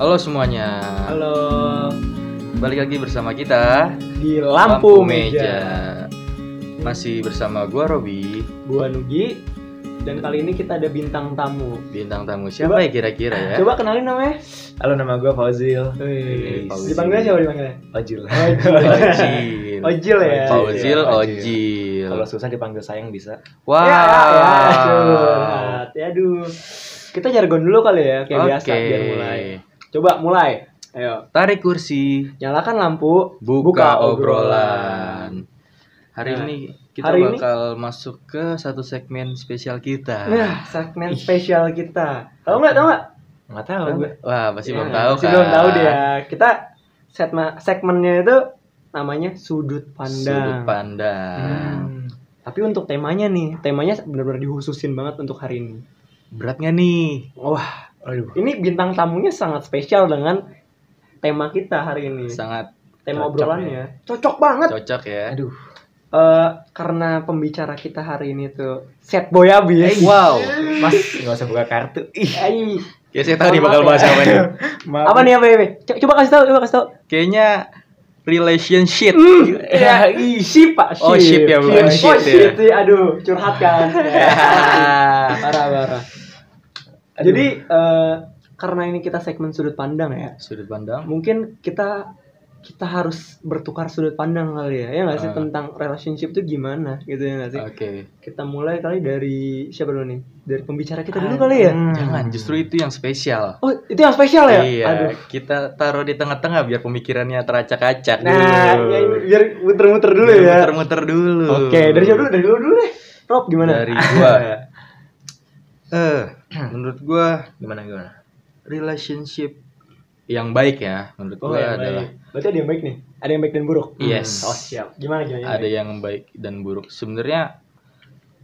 Halo semuanya. Halo Balik lagi bersama kita di lampu, meja. Masih bersama gua Robi. Gua Nugi dan kali ini kita ada bintang tamu. Bintang tamu siapa Coba- ya kira-kira ya? Coba kenalin namanya. Halo nama gue Fauzil Wih, Fauzil. dipanggilnya siapa dipanggilnya? Ojil Ojil. Ojil ya. Ojil, Ojil. Ojil. Kalau susah dipanggil sayang bisa Wow. Ya, ya, curhat. Ya, aduh. Kita jargon dulu kali ya, kayak biasa Oke. biar mulai. Coba mulai. Ayo, Tarik kursi, nyalakan lampu, buka, obrolan. Hari Nah, ini kita hari ini- bakal masuk ke satu segmen spesial kita. Nah, segmen spesial kita. Tahu nggak? Tahu nggak? Nggak tahu gue Wah, masih Ya, belum tahu masih kan? belum tahu dia. Kita setma- segmennya itu namanya sudut pandang. Sudut pandang. Hmm. Tapi untuk temanya nih, temanya benar-benar dihususin banget untuk hari ini. Berat nggak nih? Wah, Aduh ini bintang tamunya sangat spesial dengan tema kita hari ini. Sangat Tema cocok obrolannya cocok banget. ya. cocok ya. Aduh Eh, karena pembicara kita hari ini tuh set boy abis. Eh, Wow. Mas nggak usah buka kartu Ih Ay, Ya saya tahu nih Maaf bakal ya. bahas apa nih. maaf. apa nih apa ya? Co- Coba kasih tahu, coba kasih tahu. Kayaknya relationship. Iya. Ya, ih, ship pak, Oh, ship ya, bukan Oh, shit ya. shit, ya. aduh, curhat kan. Ya. parah, parah. Aduh. Jadi eh, karena ini kita segmen sudut pandang ya, Sudut pandang. mungkin kita kita harus bertukar sudut pandang kali ya, ya nggak sih Ah. tentang relationship tuh gimana gitu ya nggak sih? Oke. Kita mulai kali dari siapa dulu nih? Dari pembicara kita Ah. dulu kali ya. Hmm. Jangan, justru itu yang spesial. Oh itu yang spesial ya? Iya, Aduh. kita taruh di tengah-tengah biar pemikirannya teracak-acak Nah, dulu. ya, ini biar muter-muter dulu Biar ya. Muter-muter dulu. Oke, dari siapa dulu? Dari dulu dulu deh. Rob gimana? Dari gua. Eh, menurut gua Gimana gimana relationship yang baik ya menurut Oh, gua yang baik. adalah Berarti ada yang baik nih. Ada yang baik dan buruk. Yes. Oh siap. Gimana gimana? gimana? ada yang baik dan buruk sebenarnya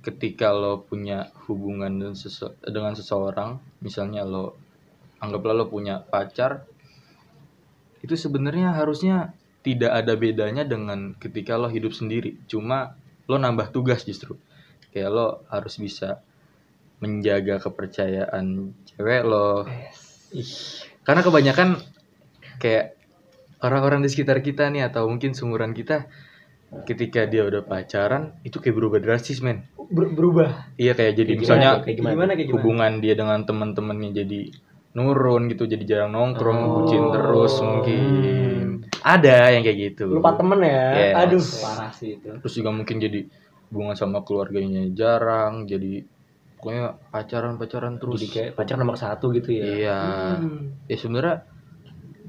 ketika lo punya hubungan dengan, sese- dengan seseorang misalnya lo anggaplah lo punya pacar itu sebenarnya harusnya tidak ada bedanya dengan ketika lo hidup sendiri cuma lo nambah tugas justru kayak lo harus bisa menjaga kepercayaan cewek lo karena kebanyakan kayak orang-orang di sekitar kita nih atau mungkin seumuran kita ketika dia udah pacaran itu kayak berubah drastis men Ber- berubah. iya kayak jadi Kayak misalnya tuh? Kayak gimana? kayak gimana? hubungan dia dengan teman-temannya jadi nurun gitu jadi jarang nongkrong Oh. bucin terus mungkin ada yang kayak gitu Lupa temen ya. Yes. Aduh, parah sih itu. terus juga mungkin jadi hubungan sama keluarganya jarang jadi pokoknya pacaran pacaran terus Jadi kayak pacar nomor satu gitu ya iya Hmm. ya sebenarnya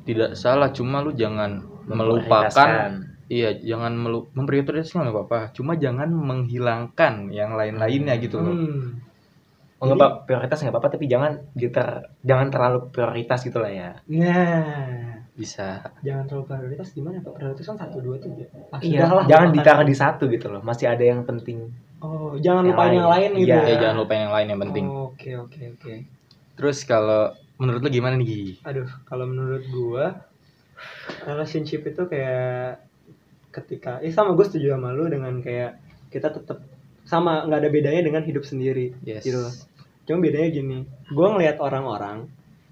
tidak salah cuma lu jangan melupakan Iya, jangan melu memprioritaskan nggak apa-apa. Cuma jangan menghilangkan yang lain-lainnya gitu loh. Hmm. Oh, nggak apa prioritas nggak apa-apa tapi jangan diter, jangan terlalu prioritas gitu lah ya Nah, Bisa. jangan terlalu prioritas gimana Pak? Prioritas kan 1 2 3. Iya. jangan ditaruh di satu gitu loh masih ada yang penting Oh, jangan Yang lupa yang lain. lain gitu. Ya, Iya, ya. jangan lupa yang lain yang penting. Oh, Oke, oke, oke. Terus kalau menurut lu gimana nih? Gi? Aduh, kalau menurut gua relationship itu kayak ketika eh sama gue setuju sama lu dengan kayak kita tetap sama nggak ada bedanya dengan hidup sendiri Yes. gitu loh. Cuma bedanya gini, gue ngelihat orang-orang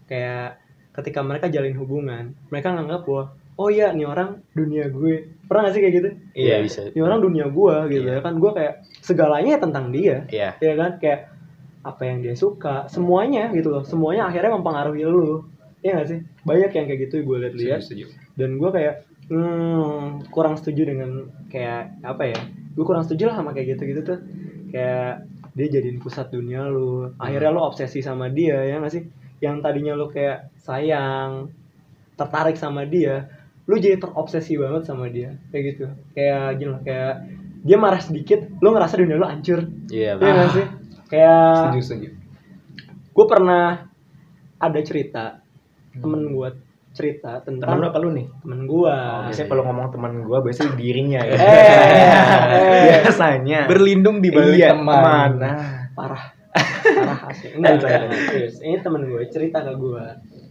kayak ketika mereka jalin hubungan, mereka nganggap bahwa oh iya nih orang dunia gue. Pernah gak sih kayak gitu? Iya, bisa. Nih orang dunia gue gitu ya kan gue kayak segalanya ya tentang dia, Iya. ya kan kayak apa yang dia suka, semuanya gitu loh, semuanya akhirnya mempengaruhi lu. Iya gak sih? Banyak yang kayak gitu gue lihat-lihat dan gue kayak hmm, kurang setuju dengan kayak apa ya gue kurang setuju lah sama kayak gitu gitu tuh kayak dia jadiin pusat dunia lu akhirnya Hmm. lu obsesi sama dia ya nggak sih yang tadinya lu kayak sayang tertarik sama dia lu jadi terobsesi banget sama dia kayak gitu kayak gini loh kayak dia marah sedikit lu ngerasa dunia lu hancur Iya, Iya nggak sih kayak Ah. setuju setuju gue pernah ada cerita temen gue cerita Hmm. temen lu Oh, tentang apa lu nih temen gue Ah, biasanya kalau ngomong teman gue biasanya dirinya ya Eh, biasanya Berlindung di balik Iya, teman. Nah, parah Nah, parah asli enggak enggak, enggak, serius ini temen gue cerita ke gue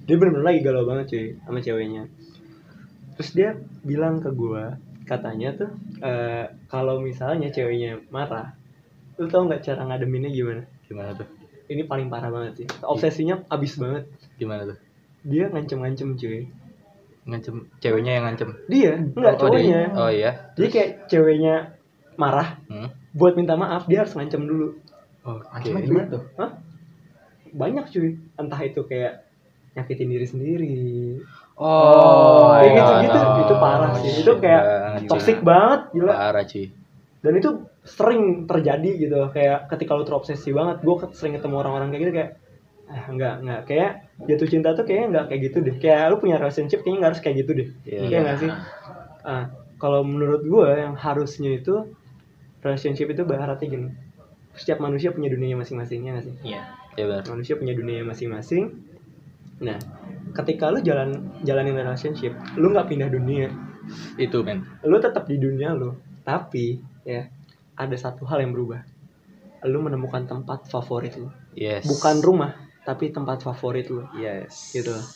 dia bener-bener lagi galau banget cuy sama ceweknya terus dia bilang ke gue katanya tuh eh, kalau misalnya ceweknya marah lu tau nggak cara ngademinnya gimana Gimana tuh? ini paling parah banget sih obsesinya abis banget Gimana tuh? dia ngancem-ngancem cuy ngancem ceweknya yang ngancem dia enggak oh, dia- cowoknya oh iya jadi kayak ceweknya marah hmm. buat minta maaf dia harus ngancem dulu oke Ancaman gimana tuh? Hah? banyak cuy entah itu kayak nyakitin diri sendiri oh Kayak iya, gitu-gitu, no. gitu, itu parah sih. Itu Shit kayak banget, cuy. toxic banget gila parah cuy dan itu sering terjadi gitu loh. kayak ketika lu terobsesi banget gue sering ketemu orang-orang kayak gitu kayak ah nggak nggak kayak jatuh cinta tuh kayaknya nggak kayak gitu deh kayak lu punya relationship kayaknya nggak harus kayak gitu deh Iya. Iya nggak sih ah kalau menurut gue yang harusnya itu relationship itu berarti gini setiap manusia punya dunianya masing-masing ya nggak sih Iya. ya benar manusia punya dunia masing-masing nah ketika lu jalan jalanin relationship lu nggak pindah dunia itu men lu tetap di dunia lu tapi ya ada satu hal yang berubah lu menemukan tempat favorit lu yes bukan rumah tapi tempat favorit lu yes gitu loh.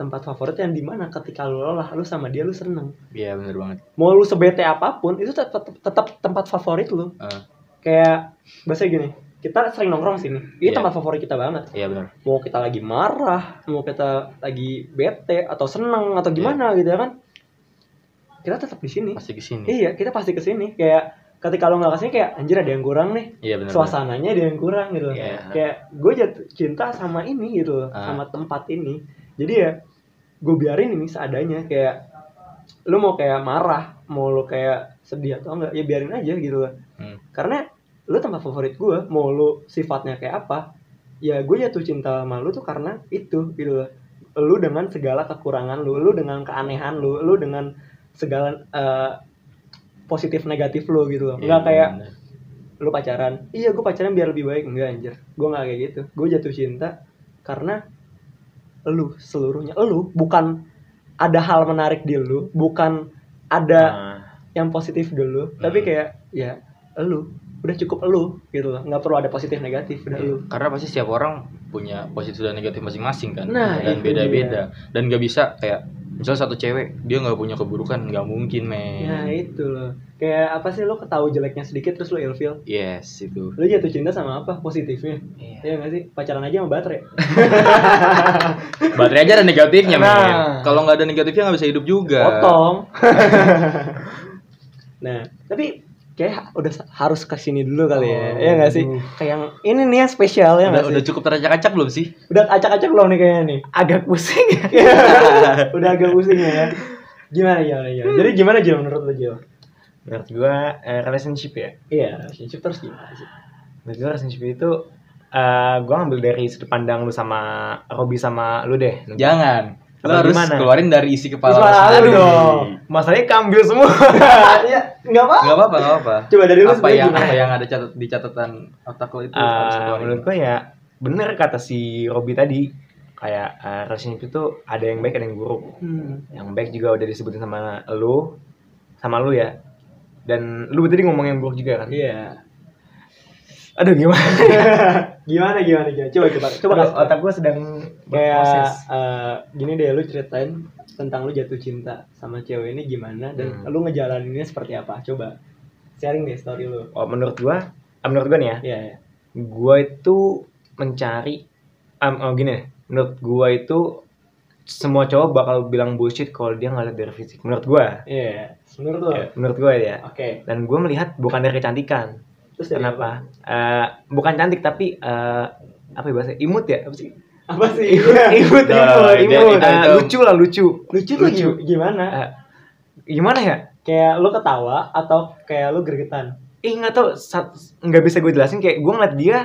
tempat favorit yang dimana ketika lu lelah lu sama dia lu seneng iya benar banget mau lu sebete apapun itu tetap tetap tempat favorit lu Ah, kayak bahasa gini kita sering nongkrong sini ini Iya. tempat favorit kita banget iya benar mau kita lagi marah, mau kita lagi bete atau seneng atau Iya. gimana gitu ya kan. Kita tetap di sini. pasti kesini Iya, kita pasti ke sini. Kayak ketika lo nggak kesini kayak anjir ada yang kurang nih. iya benar Suasananya ada yang kurang gitu. Iya. Kayak gue jatuh cinta sama ini gitu, loh, Ah. sama tempat ini. Jadi ya gue biarin ini seadanya kayak lu mau kayak marah, mau lu kayak sedih atau enggak, ya biarin aja gitu loh Hmm. karena lu tempat favorit gue mau lu sifatnya kayak apa ya gue jatuh cinta sama lu tuh karena itu gitu loh lu dengan segala kekurangan lu lu dengan keanehan lu lu dengan segala eh, positif negatif lu gitu loh Iya, nggak kayak benar. lu pacaran iya gue pacaran biar lebih baik enggak anjir gue nggak kayak gitu gue jatuh cinta karena lu seluruhnya lu bukan ada hal menarik di lu bukan ada Nah, yang positif dulu tapi Hmm. kayak ya lu udah cukup lu gitu loh nggak perlu ada positif negatif udah Iya, lu karena pasti setiap orang punya positif dan negatif masing-masing kan Nah, dan itu dia. beda-beda dan nggak bisa kayak misalnya satu cewek dia nggak punya keburukan nggak mungkin men ya itu loh kayak apa sih lu ketahu jeleknya sedikit terus lu ilfeel yes itu lu jatuh cinta sama apa positifnya iya. ya nggak sih pacaran aja sama baterai baterai aja ada negatifnya Nah. men kalau nggak ada negatifnya nggak bisa hidup juga potong nah tapi kayak udah sa- harus kesini dulu kali ya Oh, ya nggak sih kayak yang ini nih yang spesial ya udah, nggak udah sih cukup teracak-acak belum sih udah acak-acak belum nih kayaknya nih Agak pusing. udah agak pusing ya gimana gimana gimana jadi Hmm. gimana Jil menurut lo Jil Menurut gua eh, relationship ya. Iya, relationship terus gimana sih? Menurut gua relationship itu eh gua ngambil dari sudut pandang lu sama Robi sama lu deh. jangan lo Apa harus gimana? keluarin dari isi kepala lo Kepala lu sendiri. dong. Oh, Masalahnya kambil semua. Iya, nggak apa? nggak apa-apa nggak apa Coba dari lu apa sebenarnya yang gimana? Ah, apa yang ada catat di catatan otak lo itu harus Eh, keluarin menurut gua ya bener kata si Robi tadi kayak eh, relationship itu ada yang baik ada yang buruk. Hmm. Yang baik juga udah disebutin sama lu sama lu ya. Dan lu tadi ngomong yang buruk juga kan. Iya. Aduh gimana? gimana gimana gimana? Coba coba coba Aduh, kasih. otak gua sedang kayak berproses. eh, gini deh lu ceritain tentang lu jatuh cinta sama cewek ini gimana dan Hmm. lu ngejalaninnya seperti apa? Coba sharing deh story lu. Oh, menurut gua, ah, menurut gua nih ya, Iya, iya. gua itu mencari am oh, gini deh, menurut gua itu semua cowok bakal bilang bullshit kalau dia ngeliat dari fisik. Menurut gua, Iya, iya. menurut lu. ya, menurut gua ya. Oke. Dan gua melihat bukan dari kecantikan. Terus dari apa? Kenapa? Eh, bukan cantik tapi eh, apa ya bahasanya? Imut ya? Apa sih? Apa sih? Imut, imut, Nah, imut, itu- imut. itu- Eh, itu- lucu lah, lucu. lucu tuh gim- gimana? Eh, gimana ya? Kayak lu ketawa atau kayak lu gregetan? Ih, nggak tau, sa- nggak bisa gue jelasin. Kayak gua ngeliat dia,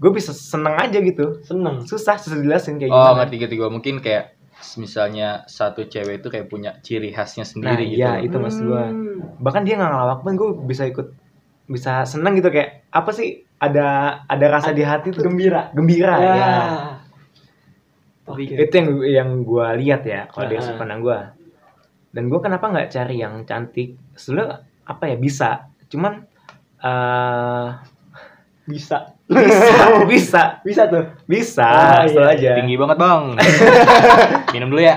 gue bisa seneng aja gitu. Seneng. susah susah dijelasin kayak oh gimana. ngerti ngerti gue mungkin kayak misalnya satu cewek itu kayak punya ciri khasnya Nah, sendiri gitu iya itu maksud gua. Hmm. Bahkan dia nggak ngelawak pun gue bisa ikut bisa seneng gitu kayak apa sih ada ada rasa di hati tuh Gembira. gembira ya. Iya. ya. Oke. Itu yang yang gua lihat ya kalau dari Ah. sudut pandang gua. Dan gua kenapa nggak cari yang cantik? Sebenarnya apa ya bisa. Cuman eh Bisa. bisa bisa Bisa tuh. bisa Ah, setelah iya, aja. tinggi banget bang minum dulu ya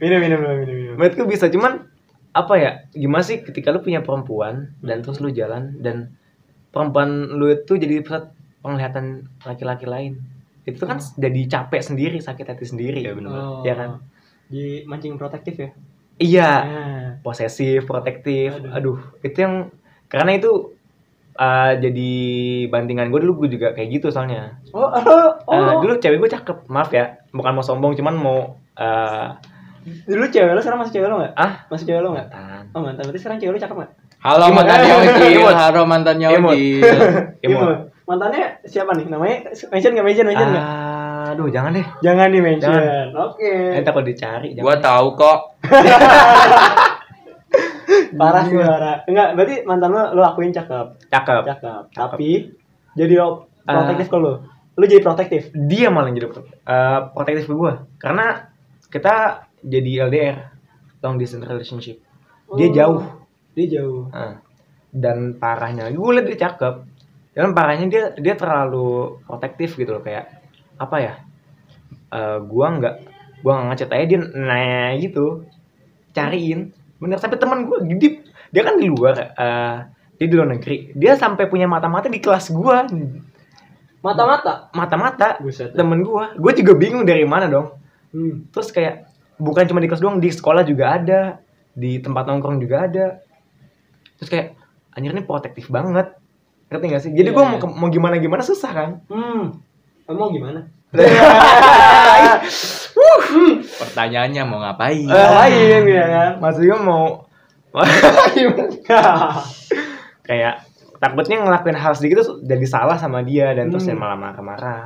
Minum minum minum minum. minum. menurutku bisa cuman apa ya gimana sih ketika lu punya perempuan dan terus lu jalan dan perempuan lu itu jadi pusat penglihatan laki-laki lain itu kan jadi capek sendiri sakit hati sendiri Iya, benar. Hmm. Oh, Iya kan? Di mancing protektif ya? iya Nah, posesif protektif Aduh. aduh, itu yang karena itu uh, jadi bantingan gue dulu gue juga kayak gitu soalnya Oh, oh, oh. Uh, dulu, dulu cewek gue cakep maaf ya bukan mau sombong cuman mau uh, dulu cewek lo sekarang masih cewek lo nggak? ah Masih cewek lo nggak? mantan Oh mantan, berarti sekarang cewek lo cakep nggak? Halo Imut. mantannya Ojil, Imut. halo mantannya Imut. Ojil. Imut. Imut. Gitu. Mantannya siapa nih? Namanya mention nggak mention mention nggak? Ah, aduh jangan deh Jangan di mention. jangan. Oke. nanti kalau dicari Gua tahu kok. Parah sih parah. Enggak, berarti mantan lo lo akuin cakep, cakep cakep. Tapi jadi lo protektif Ah. kalau lo. Lo jadi protektif. dia malah yang jadi pro- eh, protektif ke gue karena kita jadi LDR long distance relationship dia Oh. jauh Dia jauh. Nah, dan parahnya lagi gue liat dia cakep dan parahnya dia dia terlalu protektif gitu loh kayak apa ya Eh gue nggak gue nggak ngechat aja dia nanya gitu cariin bener sampai teman gue gidip dia kan di luar eh, dia di luar negeri dia sampai punya mata-mata di kelas gue Mata-mata. mata-mata Buset. temen gue gue juga bingung dari mana dong Hmm. terus kayak bukan cuma di kelas doang di sekolah juga ada di tempat nongkrong juga ada terus kayak anjir ini protektif banget ngerti gak sih jadi Iya, gue iya. mau, ke- mau gimana gimana susah kan Hmm. Emang gimana? Iya. Pertanyaannya mau ngapain? Eh. Ngapain ya kan? maksud gue mau kayak takutnya ngelakuin hal sedikit tuh jadi salah sama dia dan terus Hmm. Gitu. dia malah marah-marah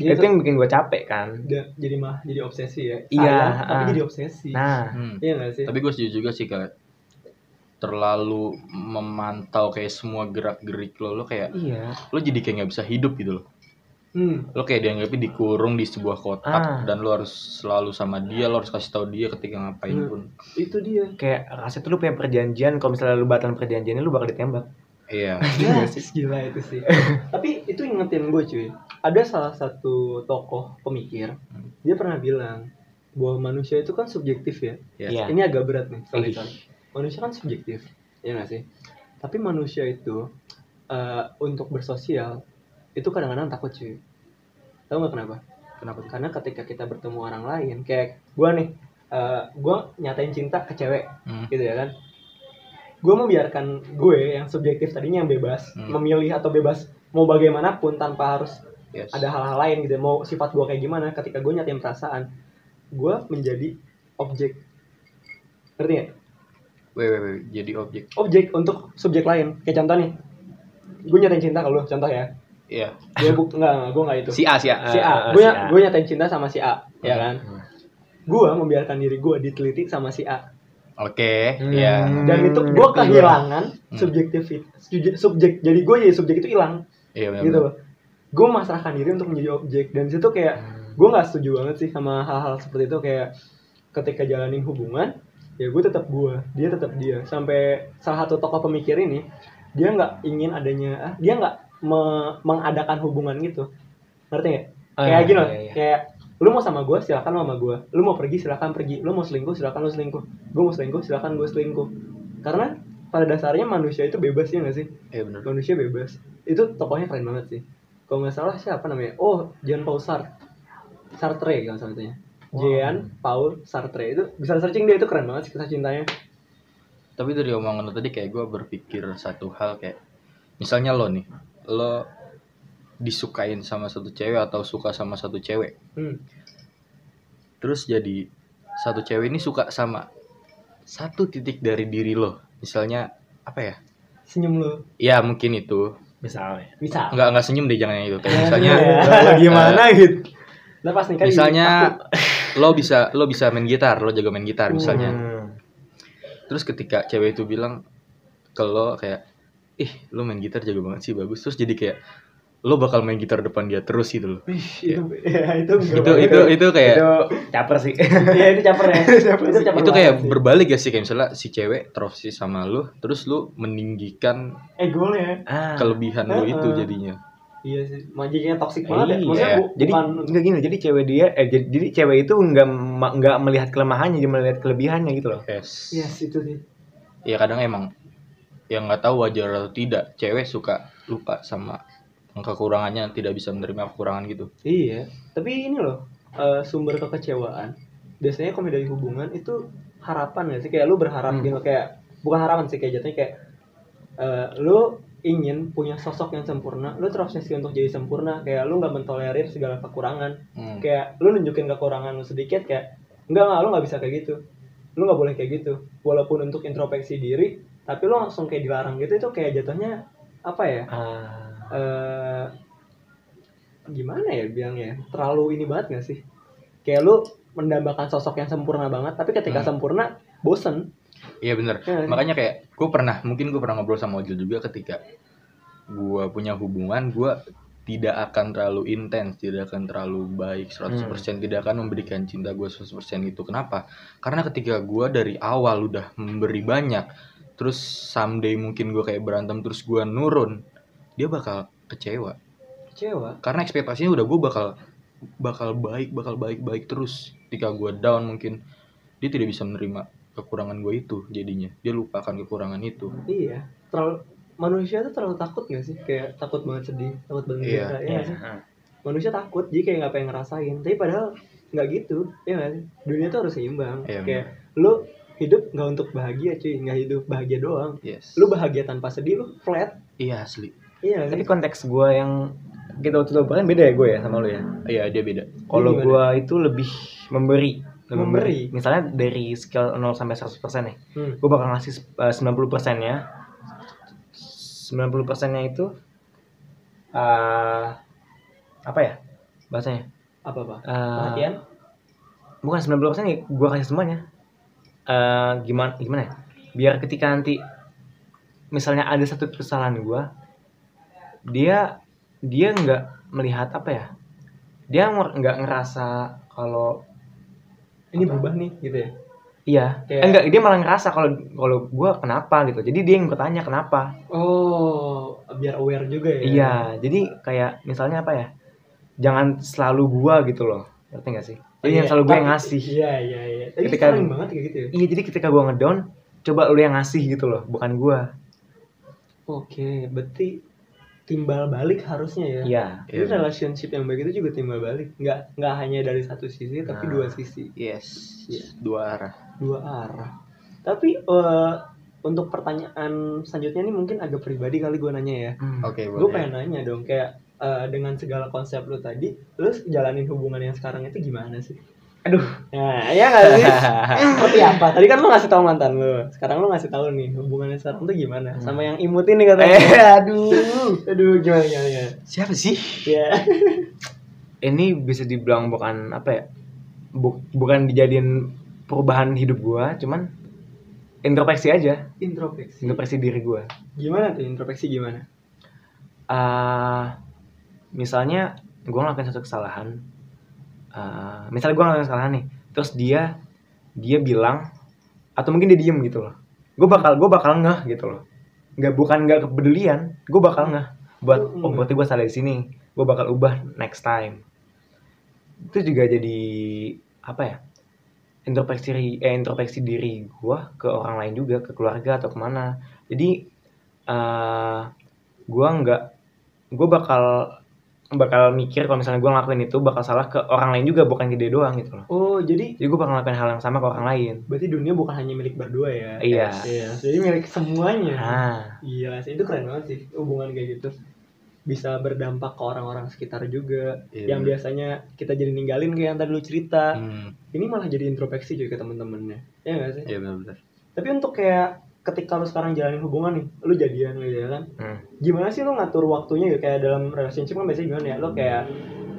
Dia itu tuh yang bikin gue capek kan udah jadi mah jadi obsesi ya. Iya, Sayang, tapi ah. jadi obsesi. nah Hmm. Iya nggak sih? Tapi gue setuju juga sih kayak terlalu memantau kayak semua gerak gerik lo lo kayak iya lo jadi kayak nggak bisa hidup gitu loh Hmm. lo kayak dianggapnya dikurung di sebuah kotak Ah. dan lo harus selalu sama dia lo harus kasih tahu dia ketika ngapain Hmm. pun Itu dia. kayak rasanya tuh lu punya perjanjian kalau misalnya lu batalin perjanjiannya lu bakal ditembak iya Ya, gila itu sih. Tapi itu ingetin gue cuy. Ada salah satu tokoh pemikir, dia pernah bilang bahwa manusia itu kan subjektif ya. Iya. Ini agak berat nih, sorry, Ih. sorry. Manusia kan subjektif, ya nggak sih? Tapi manusia itu eh, untuk bersosial itu kadang-kadang takut cuy. Tahu nggak kenapa? kenapa tuh? Karena ketika kita bertemu orang lain, kayak gue nih, eh, gue nyatain cinta ke cewek, Hmm. gitu ya kan gue membiarkan gue yang subjektif tadinya yang bebas Hmm. memilih atau bebas mau bagaimanapun tanpa harus Yes. ada hal-hal lain gitu mau sifat gue kayak gimana ketika gue nyatain perasaan gue menjadi objek ngerti nggak? Wait, wait, wait. jadi objek objek untuk subjek lain kayak contoh nih gue nyatain cinta ke lu contoh ya iya gue bu- nggak nggak, gue nggak itu si A si A si Eh, A eh, gue si A. gue nyatain cinta sama si A ya kan Hmm. gue membiarkan diri gue diteliti sama si A oke iya Hmm. dan itu gue ngerti kehilangan Hmm. subjektif subjek, subjek jadi gue jadi subjek itu hilang iya benar gitu loh gue memasrahkan diri untuk menjadi objek dan situ kayak Hmm, gue nggak setuju banget sih sama hal-hal seperti itu kayak ketika jalanin hubungan ya gue tetap gue dia tetap dia sampai salah satu tokoh pemikir ini dia nggak ingin adanya ah, dia nggak me- mengadakan hubungan gitu ngerti nggak Oh, kayak iya, gini loh iya, iya. kayak lu mau sama gue silakan lu sama gue lu mau pergi silakan pergi lu mau selingkuh silakan lu selingkuh gue mau selingkuh silakan gue selingkuh karena pada dasarnya manusia itu bebas ya nggak sih iya benar manusia bebas itu tokohnya keren banget sih kalau nggak salah siapa namanya oh Jean Paul Sartre Sartre kalau salah satunya Wow. Jean Paul Sartre itu bisa searching dia itu keren banget sih kisah cintanya tapi dari omongan lo tadi kayak gue berpikir satu hal kayak misalnya lo nih lo disukain sama satu cewek atau suka sama satu cewek hmm. terus jadi satu cewek ini suka sama satu titik dari diri lo misalnya apa ya senyum lu ya mungkin itu misalnya bisa nggak nggak senyum deh jangan yang itu kayak misalnya Iya. Kalau gimana gitu lepas nih kan misalnya lo bisa lo bisa main gitar lo jago main gitar misalnya Hmm. terus ketika cewek itu bilang ke lo kayak ih lo main gitar jago banget sih bagus terus jadi kayak lo bakal main gitar depan dia terus gitu loh itu ya, itu itu itu itu kayak itu caper sih ya itu caper ya Caper sih. itu kayak banget sih. berbalik ya sih kayak misalnya si cewek trofi sama lo terus lo meninggikan ego lu ya ah, kelebihan lo Heeh. itu jadinya iya sih majikannya toksik banget ya Iya. maksudnya bu, jadi bukan nggak gini jadi cewek dia eh jadi, jadi cewek itu nggak ma- nggak melihat kelemahannya dia melihat kelebihannya gitu loh yes yes itu sih ya kadang emang yang nggak tahu wajar atau tidak cewek suka lupa sama kekurangannya tidak bisa menerima kekurangan gitu Iya, tapi ini loh eh, sumber kekecewaan. Biasanya kalau dari hubungan itu harapan gak sih? Kayak lu berharap Hmm. gitu kayak bukan harapan sih kayak jatuhnya kayak eh, lu ingin punya sosok yang sempurna, lu terobsesi untuk jadi sempurna. Kayak lu nggak mentolerir segala kekurangan. Hmm. Kayak lu nunjukin kekurangan lu sedikit kayak enggak enggak lu nggak bisa kayak gitu. Lu nggak boleh kayak gitu. Walaupun untuk introspeksi diri, tapi lu langsung kayak dilarang gitu itu kayak jatuhnya apa ya? Ah, eh gimana ya bilangnya terlalu ini banget gak sih kayak lu mendambakan sosok yang sempurna banget tapi ketika Hmm. sempurna bosen Iya bener. Iya. Makanya kayak gue pernah, mungkin gue pernah ngobrol sama Ojul juga ketika gue punya hubungan, gue tidak akan terlalu intens, tidak akan terlalu baik 100%, tidak akan memberikan cinta gue 100% itu. Kenapa? Karena ketika gue dari awal udah memberi banyak, terus someday mungkin gue kayak berantem terus gue nurun, dia bakal kecewa. kecewa Karena ekspektasinya udah gue bakal bakal baik, bakal baik, baik terus. Ketika gue down mungkin dia tidak bisa menerima kekurangan gue itu jadinya dia lupakan kekurangan itu iya terlalu manusia tuh terlalu takut gak sih kayak takut banget sedih takut banget Iya. gembira, ya iya. nggak sih? manusia takut jadi kayak nggak pengen ngerasain tapi padahal nggak gitu ya nggak sih dunia tuh harus seimbang Iya, kayak lu hidup nggak untuk bahagia cuy nggak hidup bahagia doang yes lu bahagia tanpa sedih lu flat iya asli iya nggak Tapi sih konteks gue yang kita waktu itu obrolin beda ya gue ya sama lu ya. iya dia beda Kalau Gimana? gue itu lebih memberi, lebih Memberi? Misalnya dari skill 0 sampai 100 persen nih, Hmm. gue bakal ngasih eh, 90 persennya. 90 persennya itu eh apa ya bahasanya? apa apa Eh, perhatian bukan 90 persen ya, gue kasih semuanya. Eh gimana gimana? ya? Biar ketika nanti misalnya ada satu kesalahan gue, dia dia nggak melihat apa ya? Dia nger- nggak ngerasa kalau ini Apa? berubah nih gitu ya Iya. Kayak- Eh, Enggak, dia malah ngerasa kalau kalau gue kenapa gitu. Jadi dia yang bertanya kenapa. Oh, biar aware juga ya. Iya. Jadi kayak misalnya apa ya? Jangan selalu gua gitu loh. Ngerti gak sih? Jadi yang selalu gue yang ngasih. Iya, iya, iya. Tapi Ketika- sering banget kayak gitu ya. Iya. Jadi ketika gua ngedown, coba lu yang ngasih gitu loh, bukan gua. Oke, berarti timbal balik harusnya ya. Iya. Jadi relationship yang baik itu juga timbal balik. Nggak nggak hanya dari satu sisi tapi Nah. dua sisi, yes Iya. dua arah dua arah. Tapi eh, untuk pertanyaan selanjutnya ini mungkin agak pribadi kali gue nanya ya. Hmm. oke Gue boleh pengen nanya dong kayak eh, dengan segala konsep lu tadi, lu jalanin hubungan yang sekarang itu gimana sih? Aduh. Nah, iya nggak sih? seperti apa? Tadi kan lu ngasih tahu mantan lu. Sekarang lu ngasih tahu nih hubungannya sekarang tuh gimana? Sama yang imut ini katanya. eh, aduh. Hmm. Aduh, gimana gimana, gimana? Siapa sih? Ya. Ini bisa dibilang bukan apa ya? bu- bukan dijadiin perubahan hidup gua, cuman introspeksi aja, Introspeksi. introspeksi diri gua. Gimana tuh introspeksi gimana? Ah, misalnya gue ngelakuin satu kesalahan Ah, misalnya gue ngelakuin kesalahan nih terus dia dia bilang atau mungkin dia diem gitu loh gue bakal gue bakal ngeh gitu loh nggak bukan nggak kepedulian gue bakal ngeh buat Hmm. oh berarti gue salah di sini gue bakal ubah next time itu juga jadi apa ya introspeksi diri- eh, introspeksi diri gue ke orang lain juga ke keluarga atau kemana jadi eh gue nggak gue bakal bakal mikir kalau misalnya gue ngelakuin itu bakal salah ke orang lain juga bukan ke dia doang gitu loh Oh, jadi jadi gue bakal ngelakuin hal yang sama ke orang lain berarti dunia bukan hanya milik berdua ya? Iya. Iya, jadi milik semuanya. ah Iya, sih itu keren banget sih hubungan kayak gitu. Bisa berdampak ke orang-orang sekitar juga. Iya, Yang bener. biasanya kita jadi ninggalin kayak yang tadi lu cerita. hmm Ini malah jadi introspeksi juga ke temen-temennya. Iya nggak sih? iya benar-benar Tapi untuk kayak ketika lu sekarang jalanin hubungan nih, lu jadian lu jalan, Hmm. gimana sih lu ngatur waktunya gitu kayak dalam relationship kan biasanya gimana ya? Lu kayak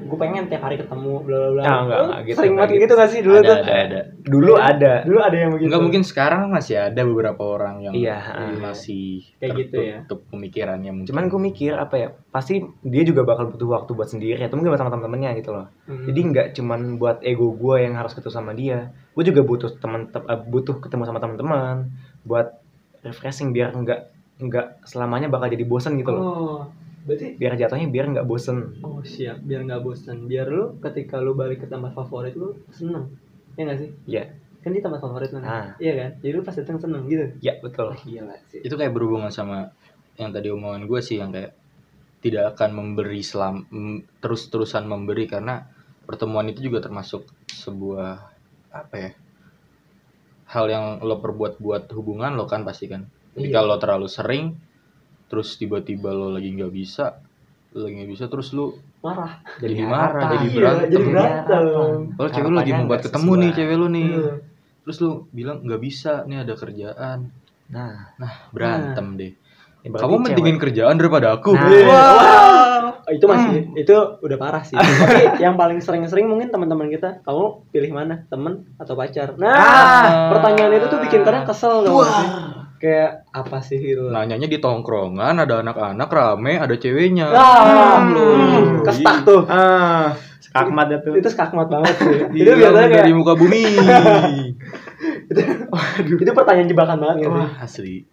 gue pengen tiap hari ketemu bla bla bla. Ah, enggak, Lu enggak gitu, Sering enggak banget gitu gak sih dulu ada tuh? Gitu. ada ada dulu ada Dulu ada yang begitu. Enggak mungkin sekarang masih ada beberapa orang yang Iya, eh, masih Kayak gitu ya. tertutup pemikirannya mungkin. cuman gue mikir apa ya pasti dia juga bakal butuh waktu buat sendiri atau mungkin sama teman-temannya gitu loh Hmm. jadi nggak cuman buat ego gue yang harus ketemu sama dia gue juga butuh teman te- eh, butuh ketemu sama teman-teman buat refreshing biar nggak nggak selamanya bakal jadi bosen gitu loh Oh, berarti biar jatuhnya biar nggak bosen oh siap biar nggak bosan. Biar lu ketika lu balik ke tempat favorit lu seneng. Iya gak sih? Iya. Kan di tempat favorit lu. nih. Ah. Iya kan? Jadi lu pas datang seneng gitu. Iya. ya betul Gila sih. itu kayak berhubungan sama yang tadi omongan gue sih yang kayak tidak akan memberi selam m- terus-terusan memberi karena pertemuan itu juga termasuk sebuah apa ya hal yang lo perbuat buat hubungan lo kan pasti kan ketika Iya. lo terlalu sering terus tiba-tiba lo lagi nggak bisa lo lagi nggak bisa terus lo marah jadi Jadi marah harapan. jadi Iya, berantem jadi Lo- berantem. lo cewek lo lagi Harapannya mau buat nggak ketemu nih sesuai. cewek lo nih Iya. terus lo bilang nggak bisa nih ada kerjaan Nah, berantem deh ya berarti kamu cewek- mendingin kerjaan daripada aku Nah. Iya. Wah. Wah, itu masih itu udah parah sih tapi yang paling sering-sering mungkin teman-teman kita kamu pilih mana temen atau pacar nah Ah, pertanyaan itu tuh bikin kadang kesel tau gak sih kayak apa sih gitu loh. nanyanya di tongkrongan ada anak-anak rame ada ceweknya ah Hmm. hmm, kestak tuh ah, Ahmad itu. itu skakmat banget sih itu Hilang biasanya kayak Iya, dari muka bumi itu pertanyaan jebakan banget gitu wah asli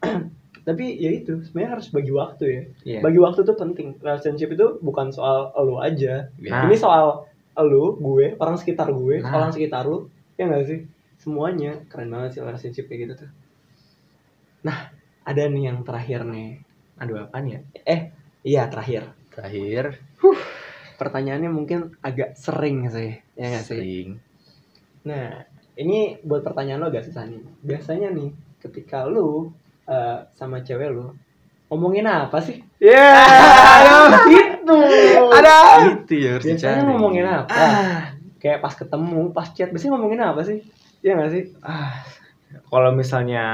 tapi ya itu sebenarnya harus bagi waktu ya Iya. bagi waktu tuh penting relationship itu bukan soal lo aja Ya. Nah. ini soal lo gue orang sekitar gue Nah. orang sekitar lu ya nggak sih semuanya keren banget sih relationship kayak gitu tuh nah ada nih yang terakhir nih Aduh apaan ya? eh iya terakhir terakhir pertanyaannya mungkin agak sering sih ya nggak sih sering Nah, ini buat pertanyaan lo agak susah nih. Biasanya nih, ketika lo eh, sama cewek lo ngomongin apa sih? Ya, Itu. gitu. ada. Ah. itu ya harus Ah! Biasanya dicari. ngomongin apa? Kayak pas ketemu, pas chat, biasanya ngomongin apa sih? Iya gak sih? Ah, kalau misalnya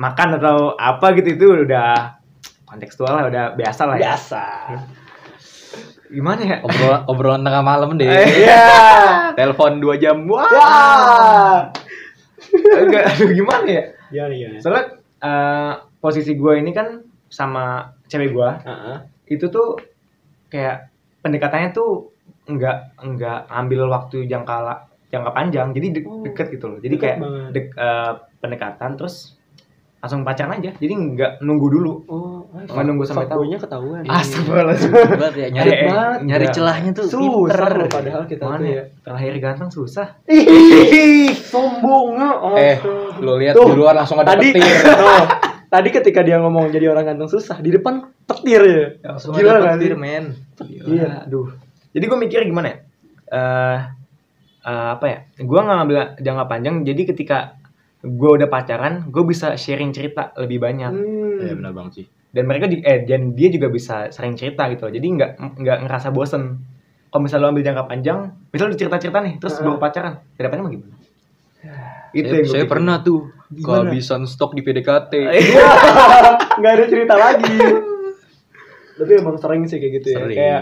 makan atau apa gitu itu udah kontekstual lah, udah biasa lah ya. Biasa. Gimana ya? obrolan obrolan tengah malam deh Eh. Iya. telepon dua jam wah Ya. Agak aduh gimana ya? Gimana gimana? Soalnya eh, posisi gue ini kan sama cewek gue Heeh. itu tuh kayak pendekatannya tuh nggak nggak ambil waktu jangka la- jangka panjang jadi de- Oh, deket gitu loh jadi deket kayak banget. dek- eh, pendekatan terus langsung pacaran aja jadi nggak nunggu dulu Oh, Nggak nunggu sampai tahu. Fuckboy-nya ketahuan. Iya. astagfirullah Ribet banget ya nyari Ribet banget. nyari celahnya tuh Susah pinter. lo padahal kita tuh mana ya ya. Iya. terlahir ganteng susah Ih, sombongnya. eh astaga. lo lihat Tuh. di luar langsung ada tadi petir no, tadi ketika dia ngomong jadi orang ganteng susah di depan petir ya langsung Gila ada nggak petir sih? men Iya. aduh jadi gue mikir gimana ya Eh, eh, apa ya gue nggak ngambil jangka panjang jadi ketika gue udah pacaran gue bisa sharing cerita lebih banyak ya hmm. benar banget sih dan mereka juga, eh dan dia juga bisa sering cerita gitu loh jadi nggak nggak ngerasa bosen kalau misalnya lo ambil jangka panjang misalnya lo cerita cerita nih terus Heeh. bawa pacaran tidak pacaran mah gimana itu saya, yang gua saya pikir. pernah tuh Gimana? Eh, kehabisan stok di PDKT nggak ada cerita lagi tapi emang sering sih kayak gitu ya Sering. kayak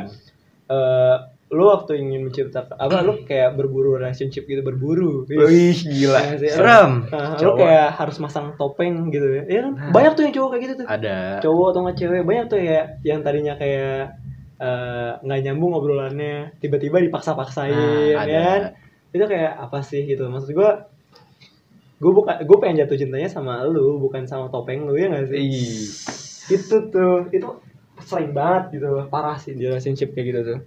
eh, lu waktu ingin menciptakan apa lu kayak berburu relationship gitu berburu Oh, wih gila Iya sih. serem Nah, Cowok. lu kayak harus masang topeng gitu ya, Iya kan? Nah. banyak tuh yang cowok kayak gitu tuh ada cowok atau nggak cewek banyak tuh ya yang tadinya kayak eh, nggak nyambung obrolannya tiba-tiba dipaksa-paksain Nah, ada. ya kan itu kayak apa sih gitu maksud gua gue bukan gue pengen jatuh cintanya sama lu bukan sama topeng lu ya Iya. nggak sih Ih. itu tuh itu sering banget gitu parah sih di relationship kayak gitu tuh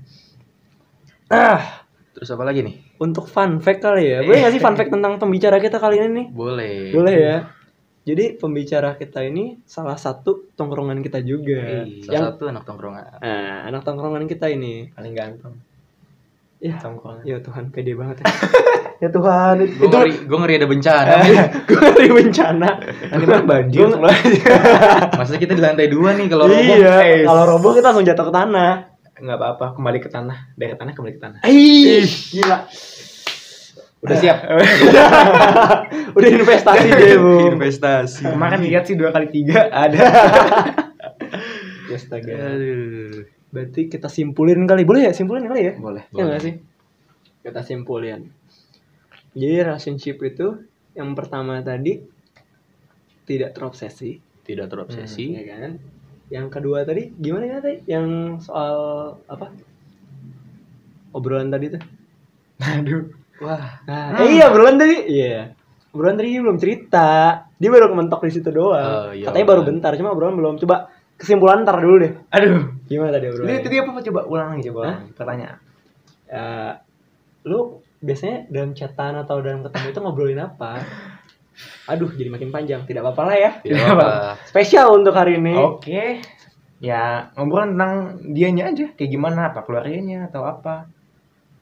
ah terus apa lagi nih untuk fun fact kali ya boleh nggak sih fun fact tentang pembicara kita kali ini nih boleh boleh Iya. ya jadi pembicara kita ini salah satu tongkrongan kita juga Iya. salah yang satu anak tongkrongan Nah, anak tongkrongan kita ini. paling ganteng Ya, tongkrongan ya Tuhan, pede banget. Ya, ya Tuhan, gue itu ngeri, gua ngeri ada bencana gue dari bencana. nanti malah banjir Gua- sebelah. Maksudnya kita di lantai dua nih kalau roboh. iya, kalau roboh kita langsung jatuh ke tanah. nggak apa-apa kembali ke tanah dari tanah kembali ke tanah Ih, gila. Udah siap. Udah investasi deh, Bu. Investasi. kemarin lihat sih dua kali tiga ada Astaga. Aduh. Berarti kita simpulin kali. Boleh ya simpulin kali ya? boleh Ya nggak sih? Kita simpulin. Jadi relationship itu yang pertama tadi tidak terobsesi. Tidak terobsesi. ya kan yang kedua tadi gimana ya tadi yang soal apa obrolan tadi tuh aduh Wah. nah, eh, iya obrolan tadi iya obrolan tadi dia belum cerita dia baru mentok di situ doang Oh, iya, katanya baru obrolan. bentar cuma obrolan belum coba kesimpulan ntar dulu deh aduh gimana tadi Jadi obrolan tadi apa coba ulang lagi coba Hah? ulang pertanyaan Ya, lu biasanya dalam chatan atau dalam ketemu itu ngobrolin apa aduh jadi makin panjang tidak apa-apa lah ya Tidak apa. Oh. spesial untuk hari ini Oke. ya ngobrol tentang dianya aja kayak gimana apa keluarganya atau apa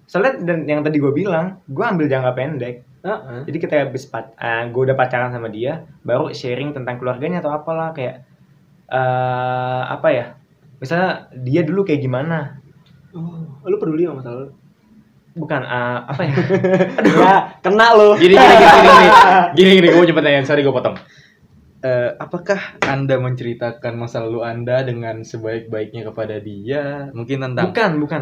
soalnya dan yang tadi gue bilang gue ambil jangka pendek Heeh. jadi kita habis pac- eh, gue udah pacaran sama dia baru sharing tentang keluarganya atau apalah kayak eh apa ya misalnya dia dulu kayak gimana Oh, lu peduli sama masa lalu? bukan eh, apa ya Ya, kena lu. Gini gini gini gini gini gini, gini gue punya pertanyaan sorry gue potong. Eh, apakah anda menceritakan masa lalu anda dengan sebaik-baiknya kepada dia? Mungkin tentang bukan bukan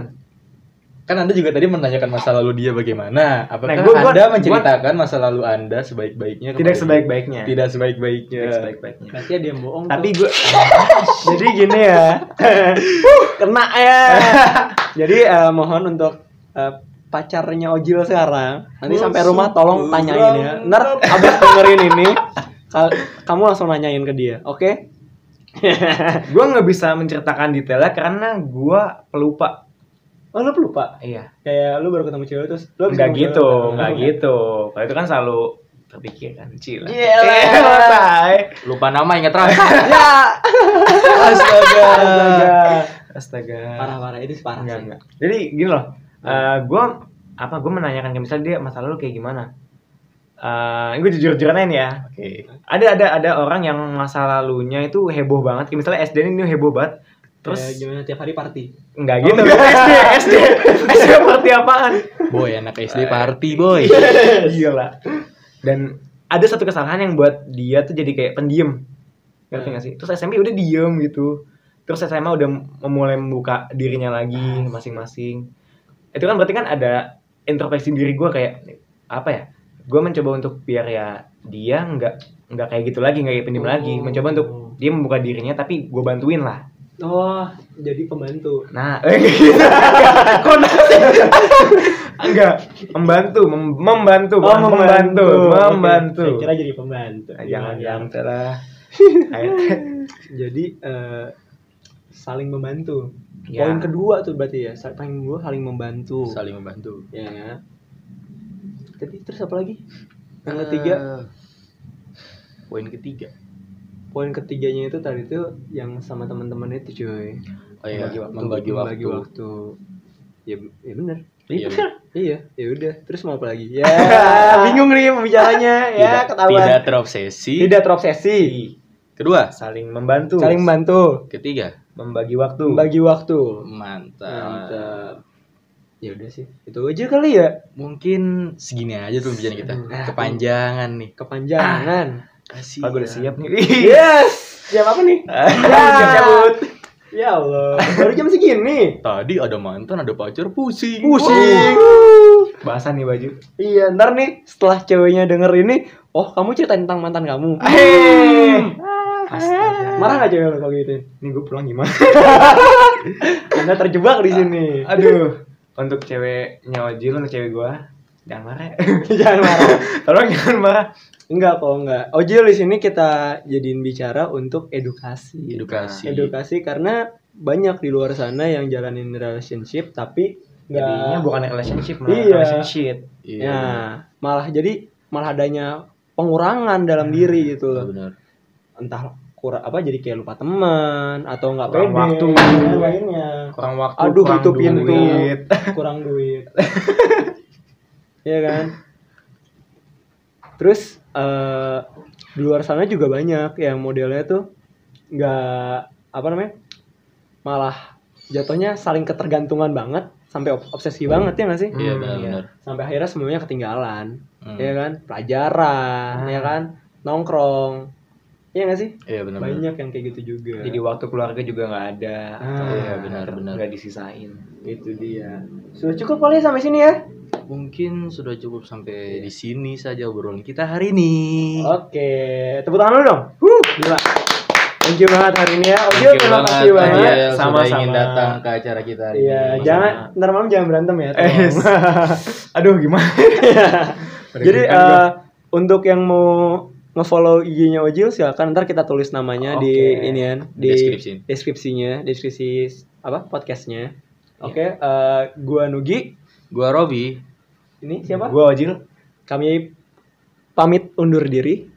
kan anda juga tadi menanyakan masa lalu dia bagaimana? Apakah Nah, gua- gua- anda menceritakan masa lalu anda sebaik-baiknya? kepada tidak dia? sebaik-baiknya Tidak sebaik-baiknya. tidak sebaik-baiknya Berarti dia yang bohong. tapi tuh. gue jadi gini ya kena ya. Jadi eh, mohon untuk eh, pacarnya Ojil sekarang nanti sampai rumah tolong tanyain ya. Ntar abis dengerin ini kal- kamu langsung nanyain ke dia, oke? gue nggak bisa menceritakan detailnya karena gue pelupa Oh lu pelupa? iya Kayak lu baru ketemu cewek terus lu abis nggak ketemu gitu cewek, nggak lu- gitu kalau itu kan selalu kan, terpikirkan cila Gila. Lupa nama ingat rasa. Ya. astaga astaga Parah-parah itu sih parah enggak sih. enggak jadi gini loh eh gue apa gue menanyakan ke misalnya dia masa lalu kayak gimana Eh gue jujur jujuran aja nih ya Oke. ada ada ada orang yang masa lalunya itu heboh banget kayak misalnya SD ini heboh banget terus Kayak gimana tiap hari party? Enggak gitu. SD, SD, SD seperti apaan? Boy anak SD party boy. Gila. Dan ada satu kesalahan yang buat dia tuh jadi kayak pendiam. Ngerti gak sih? Terus SMP udah diem gitu. Terus SMA udah memulai membuka dirinya lagi masing-masing. Itu kan berarti kan ada introspeksi diri gue kayak apa ya? Gue mencoba untuk biar ya dia nggak nggak kayak gitu lagi, nggak kayak pendiam Oh. lagi. Mencoba untuk dia membuka dirinya tapi gue bantuin lah. Oh, jadi pembantu. Nah, eh, gitu. Kok nanti? Enggak, membantu, mem- membantu, bukan membantu, Oh, Oke, membantu. Saya kira jadi pembantu. Nah, jangan Gimana? sampai lah. Ayo. Jadi eh, saling membantu. Ya. Poin kedua tuh berarti ya, sa- poin kedua saling membantu. Saling membantu. Ya. Tapi terus apa lagi? Yang ketiga, Eh, poin ketiga. poin ketiganya itu tadi tuh yang sama teman-teman itu cuy. Oh iya, Membagi waktu. membagi waktu. Membagi waktu. Ya, b- ya bener. Iya. Iya, ya udah. Terus mau apa lagi? Ya, Bingung nih pembicaranya ya, tidak, ketahuan. tidak terobsesi. Tidak terobsesi. Kedua, Iya, Saling membantu, Saling membantu. ketiga. membagi waktu. Membagi waktu. Mantap. Mantap. Ya udah sih. Itu aja kali ya. Mungkin segini aja tuh pembicaraan kita. Aduh. Kepanjangan nih. Ah. Kepanjangan. Kasih. Pak, gue udah siap nih. Iya. Yes. Siap apa nih? Siap cabut. Ya Allah. Baru jam segini. Tadi ada mantan, ada pacar, pusing. Pusing. Basah nih baju. Iya, ntar nih setelah ceweknya denger ini, oh kamu ceritain tentang mantan kamu. Hei. Astaga. Hmm. Marah gak cewek lo kalau gitu? Ini gue pulang gimana? Anda terjebak di sini. Aduh. Untuk ceweknya Ojil, untuk cewek gua jangan marah. ya. Jangan marah. Tolong jangan marah. Enggak kok, enggak. Ojil di sini kita jadiin bicara untuk edukasi. Edukasi. edukasi karena banyak di luar sana yang jalanin relationship tapi nggak- Jadinya bukan relationship, malah Iya. relationship. Iya. nah malah jadi malah adanya pengurangan Nah, dalam diri gitu loh Benar. entah kurang apa jadi kayak lupa teman atau nggak Kurang pede waktu. ya, lainnya Kurang waktu, Aduh, kurang itu pintu. duit. kurang duit Iya kan terus eh, di luar sana juga banyak yang modelnya tuh nggak apa namanya malah jatuhnya saling ketergantungan banget sampai ob- obsesi banget ya nggak sih Iya Hmm, iya. benar. sampai akhirnya semuanya ketinggalan Hmm. Ah. ya kan pelajaran ya kan nongkrong Iya nggak sih Iya benar. banyak yang kayak gitu juga Jadi waktu keluarga juga nggak ada. Ah, iya, benar, benar. Nggak disisain. itu dia sudah cukup kali sampai sini ya Mungkin sudah cukup sampai di sini saja obrolan kita hari ini. Oke, tepuk tangan dulu dong. Huh, gila. Thank you banget hari ini ya. Oke, Thank you terima banget, Iya. kasih banget. Ariel, sudah Sama-sama. ingin datang ke acara kita hari Iya, ini. jangan ntar malam jangan berantem ya. Eh, tolong. Aduh, gimana? Oh. Jadi Deg-degan gua. eh, untuk yang mau ngefollow IG-nya Ojil silakan ntar kita tulis namanya di Oke. inian di Deskripsi. deskripsinya, deskripsi s- apa podcastnya. Oke, eh gua Nugi. Gua Robi. Ini siapa? Gua Ojil. Kami pamit undur diri.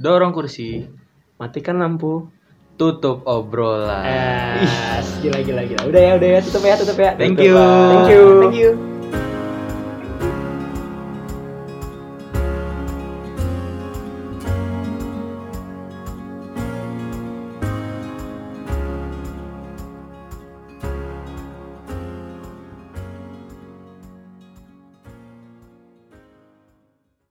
Dorong kursi. matikan lampu tutup obrolan Ah. eh gila gila gila udah ya udah ya tutup ya tutup ya Thank Tutup, you. Bang. thank you Thank you.